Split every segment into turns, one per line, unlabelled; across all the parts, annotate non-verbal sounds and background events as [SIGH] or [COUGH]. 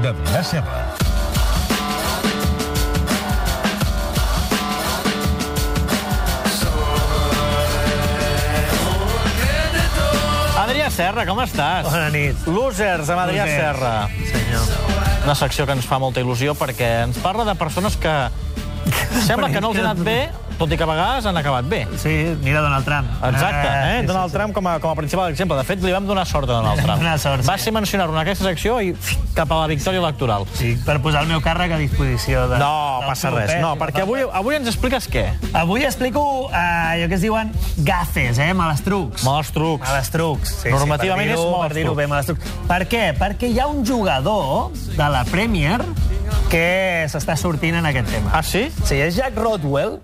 de Vila-serra.
Adrià Serra, com estàs?
Bona nit.
Losers amb Adrià
Losers.
Serra.
Senyor.
Una secció que ens fa molta il·lusió perquè ens parla de persones que sembla que no els ha anat bé, tot i que a vegades han acabat bé.
Sí, mira Donald Trump.
Exacte, eh?
sí,
Donald
sí,
Trump com a, com a principal exemple. De fet, li vam donar sort a Donald Trump.
Donar sort,
Va
sí.
ser mencionar en aquesta secció i cap a la victòria electoral.
Sí, per posar el meu càrrec a disposició de...
No,
del
passa
seu
res.
pes,
No,
si fa
perquè
falta.
avui, avui ens expliques què?
Avui explico eh, allò que es diuen gafes, eh? Malestrucs.
Mals trucs.
Malestrucs. Sí,
Normativament
sí, per
és
dir-ho- Per dir-ho bé, malestrucs. Per què? Perquè hi ha un jugador de la Premier que s'està sortint en aquest tema.
Ah, sí?
Sí, és Jack Rodwell.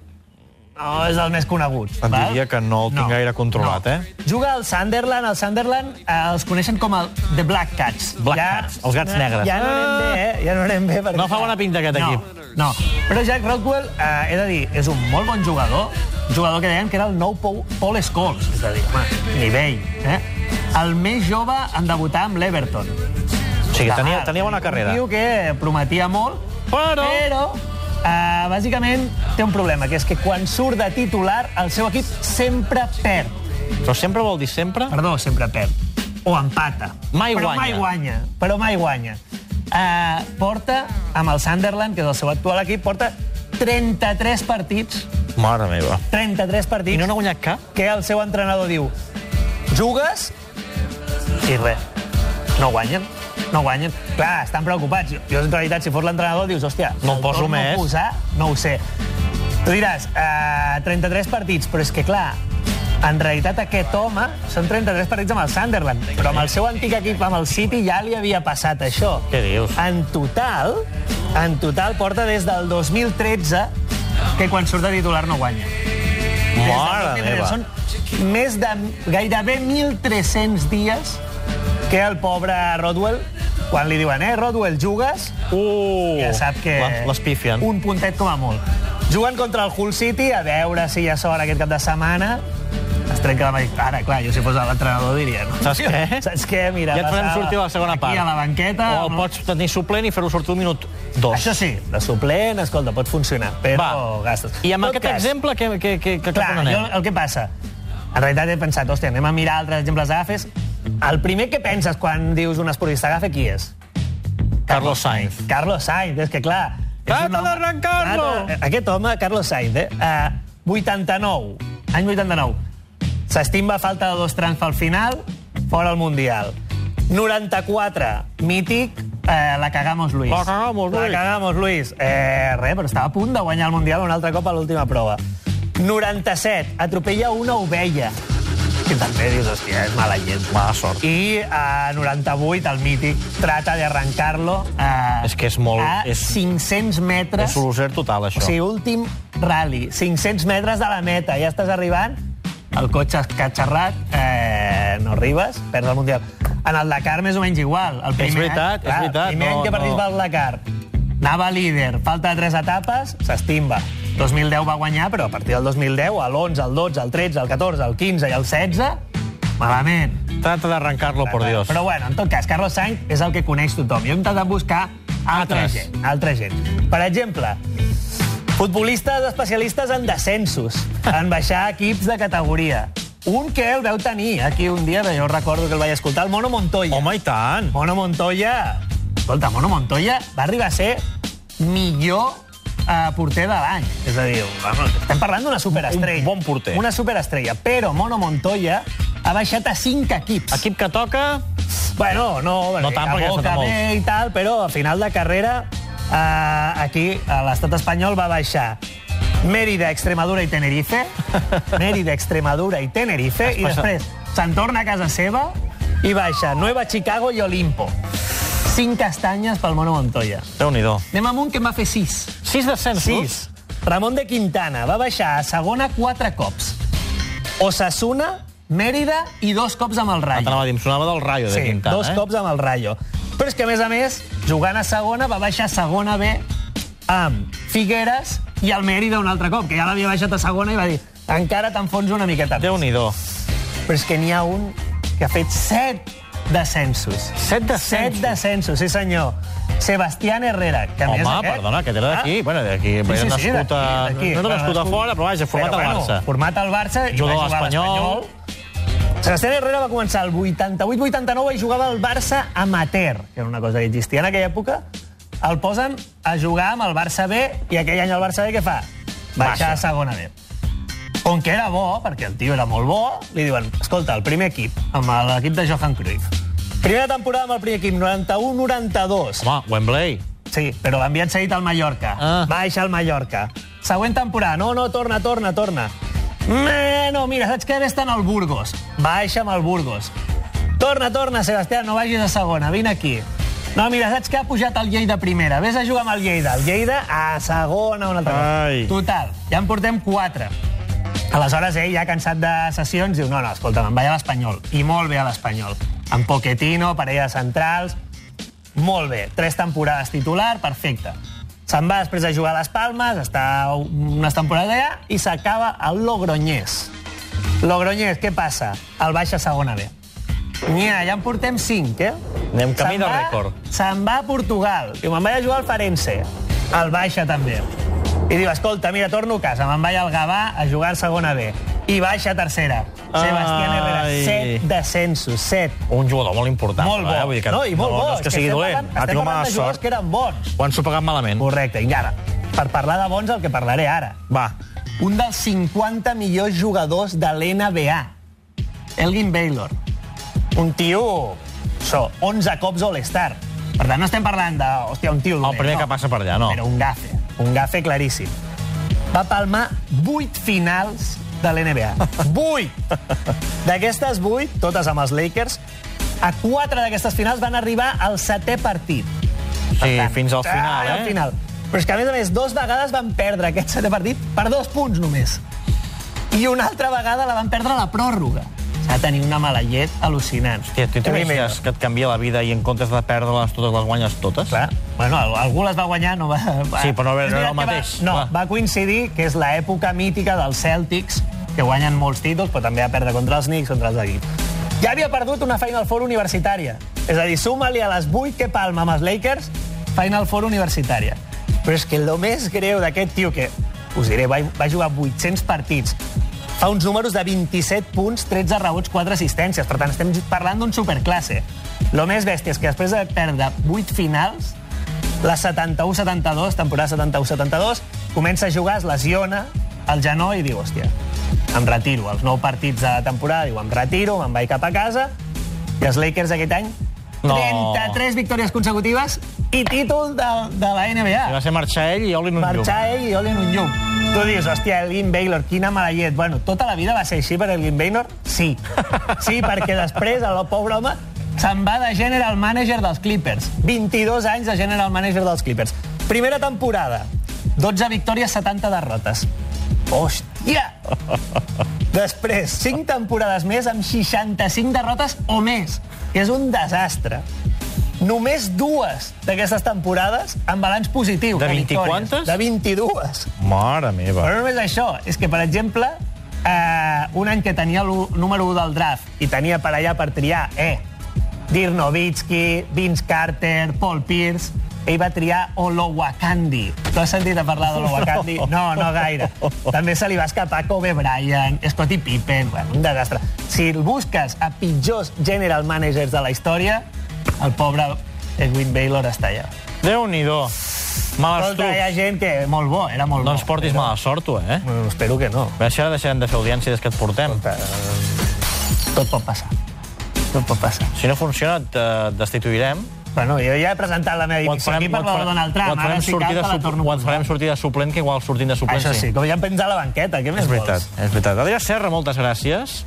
No, és el més conegut.
Em diria que no el tinc gaire controlat,
no.
eh?
Juga al Sunderland. Al Sunderland eh, els coneixen com el The Black Cats.
Black Cats, els gats negres.
Ja no anem bé, eh? Ja no anem bé. Perquè...
No fa bona pinta aquest
no,
equip.
No, però Jack Rodwell, eh, he de dir, és un molt bon jugador. Jugador que deien que era el nou Paul, Paul Scholes. És a dir, home, nivell, eh? El més jove en debutar amb l'Everton.
O sigui, tenia, tenia bona carrera.
Diu que prometia molt,
Però-
però uh, bàsicament té un problema, que és que quan surt de titular, el seu equip sempre perd.
Però sempre vol dir sempre?
Perdó, sempre perd. O empata.
Mai
però
guanya.
Mai guanya. Però mai guanya. Uh, porta, amb el Sunderland, que és el seu actual equip, porta 33 partits,
Mare meva.
33 partits,
I no n'ha guanyat cap?
que el seu entrenador diu jugues i res, no guanyen no guanyen. Clar, estan preocupats. Jo, en realitat, si fos l'entrenador, dius, hòstia...
No
el
poso
torno a
més.
Posar, no ho sé. Tu diràs, eh, 33 partits, però és que, clar, en realitat aquest home són 33 partits amb el Sunderland, però amb el seu antic equip, amb el City, ja li havia passat això.
Què dius?
En total, en total porta des del 2013 que quan surt de titular no guanya. Des del
Mare
2013,
meva.
Són més de gairebé 1.300 dies que el pobre Rodwell, quan li diuen, eh, Rodwell, jugues,
Uh,
ja sap que...
les- Les pifien.
Un puntet com a molt. Juguen contra el Hull City, a veure si hi ha sort aquest cap de setmana. Es trenca la mà. Ara, clar, jo si fos l'entrenador diria, no?
Saps què?
[LAUGHS] Saps què? Mira,
Ja et farem
passava
sortir a la segona part. Oh,
Aquí a la banqueta.
O el pots tenir suplent i fer-ho sortir un minut dos.
Això sí, de suplent, escolta, pot funcionar,
Va.
però gastes.
I amb
En tot
aquest exemple, què, què, què, què
Clar,
cap on anem?
jo, el que passa, en realitat he pensat, hòstia, anem a mirar altres exemples d'agafes. El primer que penses quan dius un esportista agafe, qui és?
Carlos Sainz.
Carlos Sainz, és que clar... és
Trata
un home-
d'arrancar-lo!
Trata- Aquest home, Carlos Sainz, eh? Uh, 89, any 89. S'estimba a falta de dos trams al final, fora el Mundial. 94, mític, eh, la cagamos Luis.
La cagamos, Luis.
La cagamos Luis. Eh, res, però estava a punt de guanyar el Mundial un altre cop a l'última prova. 97, atropella una ovella. Que també dius, hòstia, és mala gent.
Mala sort.
I a 98, el mític, trata de arrancar-lo eh, a,
És que és molt-
a
és-
500 metres.
És un loser total,
o
això.
sigui, últim rally. 500 metres de la meta. Ja estàs arribant, el cotxe catxarrat, eh, no arribes, perds el Mundial. En el Dakar, més o menys igual. El primer
veritat,
any,
és
clar,
veritat,
El primer
no,
any que
no.
participa al Dakar, anava líder, falta de tres etapes, s'estimba. 2010 va guanyar, però a partir del 2010, a l'11, al 12, al 13, al 14, al 15 i al 16, malament.
Trata d'arrancar-lo, por Dios.
Però bueno, en tot cas, Carlos Sainz és el que coneix tothom. Jo he intentat buscar altra
Altres.
gent. Altra gent. Per exemple, futbolistes especialistes en descensos, en baixar equips de categoria. Un que el veu tenir aquí un dia, jo recordo que el vaig escoltar, el Mono Montoya.
Home, i tant.
Mono Montoya... Escolta, Mono Montoya va arribar a ser millor eh, porter de l'any. És a dir, vamos, estem parlant d'una superestrella.
Un bon porter.
Una superestrella. Però Mono Montoya ha baixat a 5 equips.
Equip que toca...
Bueno, no,
No tant, perquè
a
són
Boca
molts.
bé i tal, però a final de carrera eh, aquí a l'estat espanyol va baixar Mérida, Extremadura i
[LAUGHS]
Tenerife, Mérida, Extremadura i Tenerife, i
passat.
després se'n torna a casa seva i baixa Nueva Chicago i Olimpo. Cinc castanyes pel Mono Montoya.
Déu-n'hi-do.
Anem amunt, que en va fer sis.
Sis descensos.
6. Ramon de Quintana va baixar a segona quatre cops. Osasuna, Mérida i dos cops amb el Rayo.
T'anava a dir, em sonava del Rayo de
Sí,
Quintana,
dos
eh?
cops amb el Rayo. Però és que, a més a més, jugant a segona, va baixar a segona B amb Figueres i el Mèrida un altre cop, que ja l'havia baixat a segona i va dir encara t'enfonso una miqueta.
Déu-n'hi-do.
Però és que n'hi ha un que ha fet set descensos.
Set descensos?
Set descensos, sí senyor. Sebastián Herrera, que a
Home,
més aquest...
perdona, que era d'aquí. Ah. Bueno, d'aquí. Sí, sí, sí, nascut a...
d'aquí,
No era
d'aquí.
nascut a fora, però vaja, format
Però,
al
bueno,
Barça.
Format al Barça i
Jugador
va jugar a
espanyol.
l'Espanyol. Sebastián Herrera va començar el 88-89 i jugava al Barça amateur, que era una cosa que existia en aquella època. El posen a jugar amb el Barça B i aquell any el Barça B què fa? Baixar
Baixa.
a segona B. Com que era bo, perquè el tio era molt bo, li diuen, escolta, el primer equip, amb l'equip de Johan Cruyff. Primera temporada amb el primer equip, 91-92.
Home, Wembley.
Sí, però l'havien cedit al Mallorca.
Ah.
Ah. Baixa al Mallorca. Següent temporada. No, no, torna, torna, torna. Mm, no, mira, saps què? Ara Està en el Burgos. Baixa amb el Burgos. Torna, torna, Sebastià, no vagis a segona. Vine aquí. No, mira, saps que ha pujat el Lleida a primera. Ves a jugar amb el Lleida. El Lleida a segona una altra
Ai.
cosa. Total, ja en portem quatre. Aleshores, ell ja cansat de sessions, diu, no, no, escolta, me'n vaig a l'Espanyol. I molt bé a l'Espanyol. Amb Pochettino, parella de centrals, molt bé, tres temporades titular, perfecte. Se'n va després a jugar a les Palmes, està unes temporades allà, i s'acaba al Logroñés. Logroñés, què passa? El baixa a segona B. Nia, ja en portem cinc, eh?
Anem camí
Se'n
del
va-
rècord.
Se'n va a Portugal. Diu, me'n vaig a jugar al Farense. El baixa també. I diu, escolta, mira, torno a casa, me'n vaig al Gavà a jugar a segona B. I baixa a tercera. Sebastián
Ai.
Herrera, set descensos, set.
Un jugador molt important.
Molt bo.
Eh? Vull dir que
no, i molt
no,
bo.
No és que
És
sigui
estem
dolent.
Parlant,
Ha
estem
tingut
parlant
mala
de jugadors
sort.
que eren bons.
Ho han sopegat malament.
Correcte, i ara, per parlar de bons, el que parlaré ara.
Va.
Un dels 50 millors jugadors de l'NBA, Elgin Baylor. Un tio, so, 11 cops All-Star. Per tant, no estem parlant de, hòstia, un tio dolent.
El primer
no.
que passa per allà, no.
Però un gafe, un gafe claríssim. Va palmar 8 finals de
[LAUGHS]
l'NBA. 8! D'aquestes 8, totes amb els Lakers, a 4 d'aquestes finals van arribar al setè partit. Per
Sí,
tant,
fins al final,
ah,
eh?
Al final. Però és que, a més a més, dos vegades van perdre aquest setè partit per dos punts només. I una altra vegada la van perdre a la pròrroga. S'ha de tenir una mala llet al·lucinant.
Hòstia, tu t'imagines que et canvia la vida i en comptes de perdre-les totes, les guanyes totes?
Clar. Bueno, al- algú les va guanyar, no va... va.
Sí, però no era-
És
no era
veritat
el
que
mateix, Ah.
Va, no,
clar.
va coincidir que és l'època mítica dels Celtics, que guanyen molts títols, però també va perdre contra els Knicks, contra els equips. Ja havia perdut una Final Four universitària. És a dir, suma-li a les 8 que palma amb els Lakers, Final Four universitària. Però és que el més greu d'aquest tio, que us diré, va, va jugar 800 partits, fa uns números de 27 punts, 13 rebots, 4 assistències. Per tant, estem parlant d'un superclasse. Lo més bèstia és que després de perdre 8 finals, la 71-72, temporada 71-72, comença a jugar, es lesiona el genoll i diu, hòstia, em retiro. Els nou partits de la temporada, diu, em retiro, me'n vaig cap a casa. I els Lakers aquest any,
No.
33 victòries consecutives i títol de, de la NBA.
I va ser marxar ell i Oli en un llum.
Marxar ell i olin un llum. Tu dius, hòstia, Elgin Baylor, quina mala llet. Bueno, tota la vida va ser així per Elgin Baylor? Sí. Sí, perquè després el pobre home se'n va de general manager dels Clippers. 22 anys de general manager dels Clippers. Primera temporada, 12 victòries, 70 derrotes. Hòstia! Després, 5 temporades més amb 65 derrotes o més, que és un desastre. Només dues d'aquestes temporades amb balanç positiu.
De 20
victòries.
quantes?
De 22.
Mare meva.
Però no només això, és que, per exemple, eh, un any que tenia el número 1 del draft i tenia per allà per triar, eh, Dirk Nowitzki, Vince Carter, Paul Pierce, ell va triar Olowakandi. Tu has sentit a parlar d'Olowakandi?
[LAUGHS]
No, no gaire. També se li va escapar Kobe Bryant, Scottie Pippen, bueno, un desastre. Si el busques a pitjors general managers de la història, el pobre Edwin Baylor està allà.
Déu-n'hi-do. Males
Escolta, hi ha
tu.
gent que... Molt bo, era molt
No
bo.
ens portis mala sort, tu, eh?
Bueno, espero que no.
Bé, Això ara deixarem de fer audiència des que et portem.
eh, Tot pot passar. Tot pot passar.
Si no funciona, et eh, destituirem.
Bueno, jo ja he presentat la meva
O et
dimissió aquí
farem- o et
per la de
farem-
Donald
o
Trump.
et farem
Ara, si cal,
sortir
te
de
la
sup-
torno
o
a
et farem sortir de suplent, que igual sortint de suplent
Això sí, com ja em pensa la banqueta, què més
És
vols?
veritat, és veritat. Adrià Serra, moltes gràcies.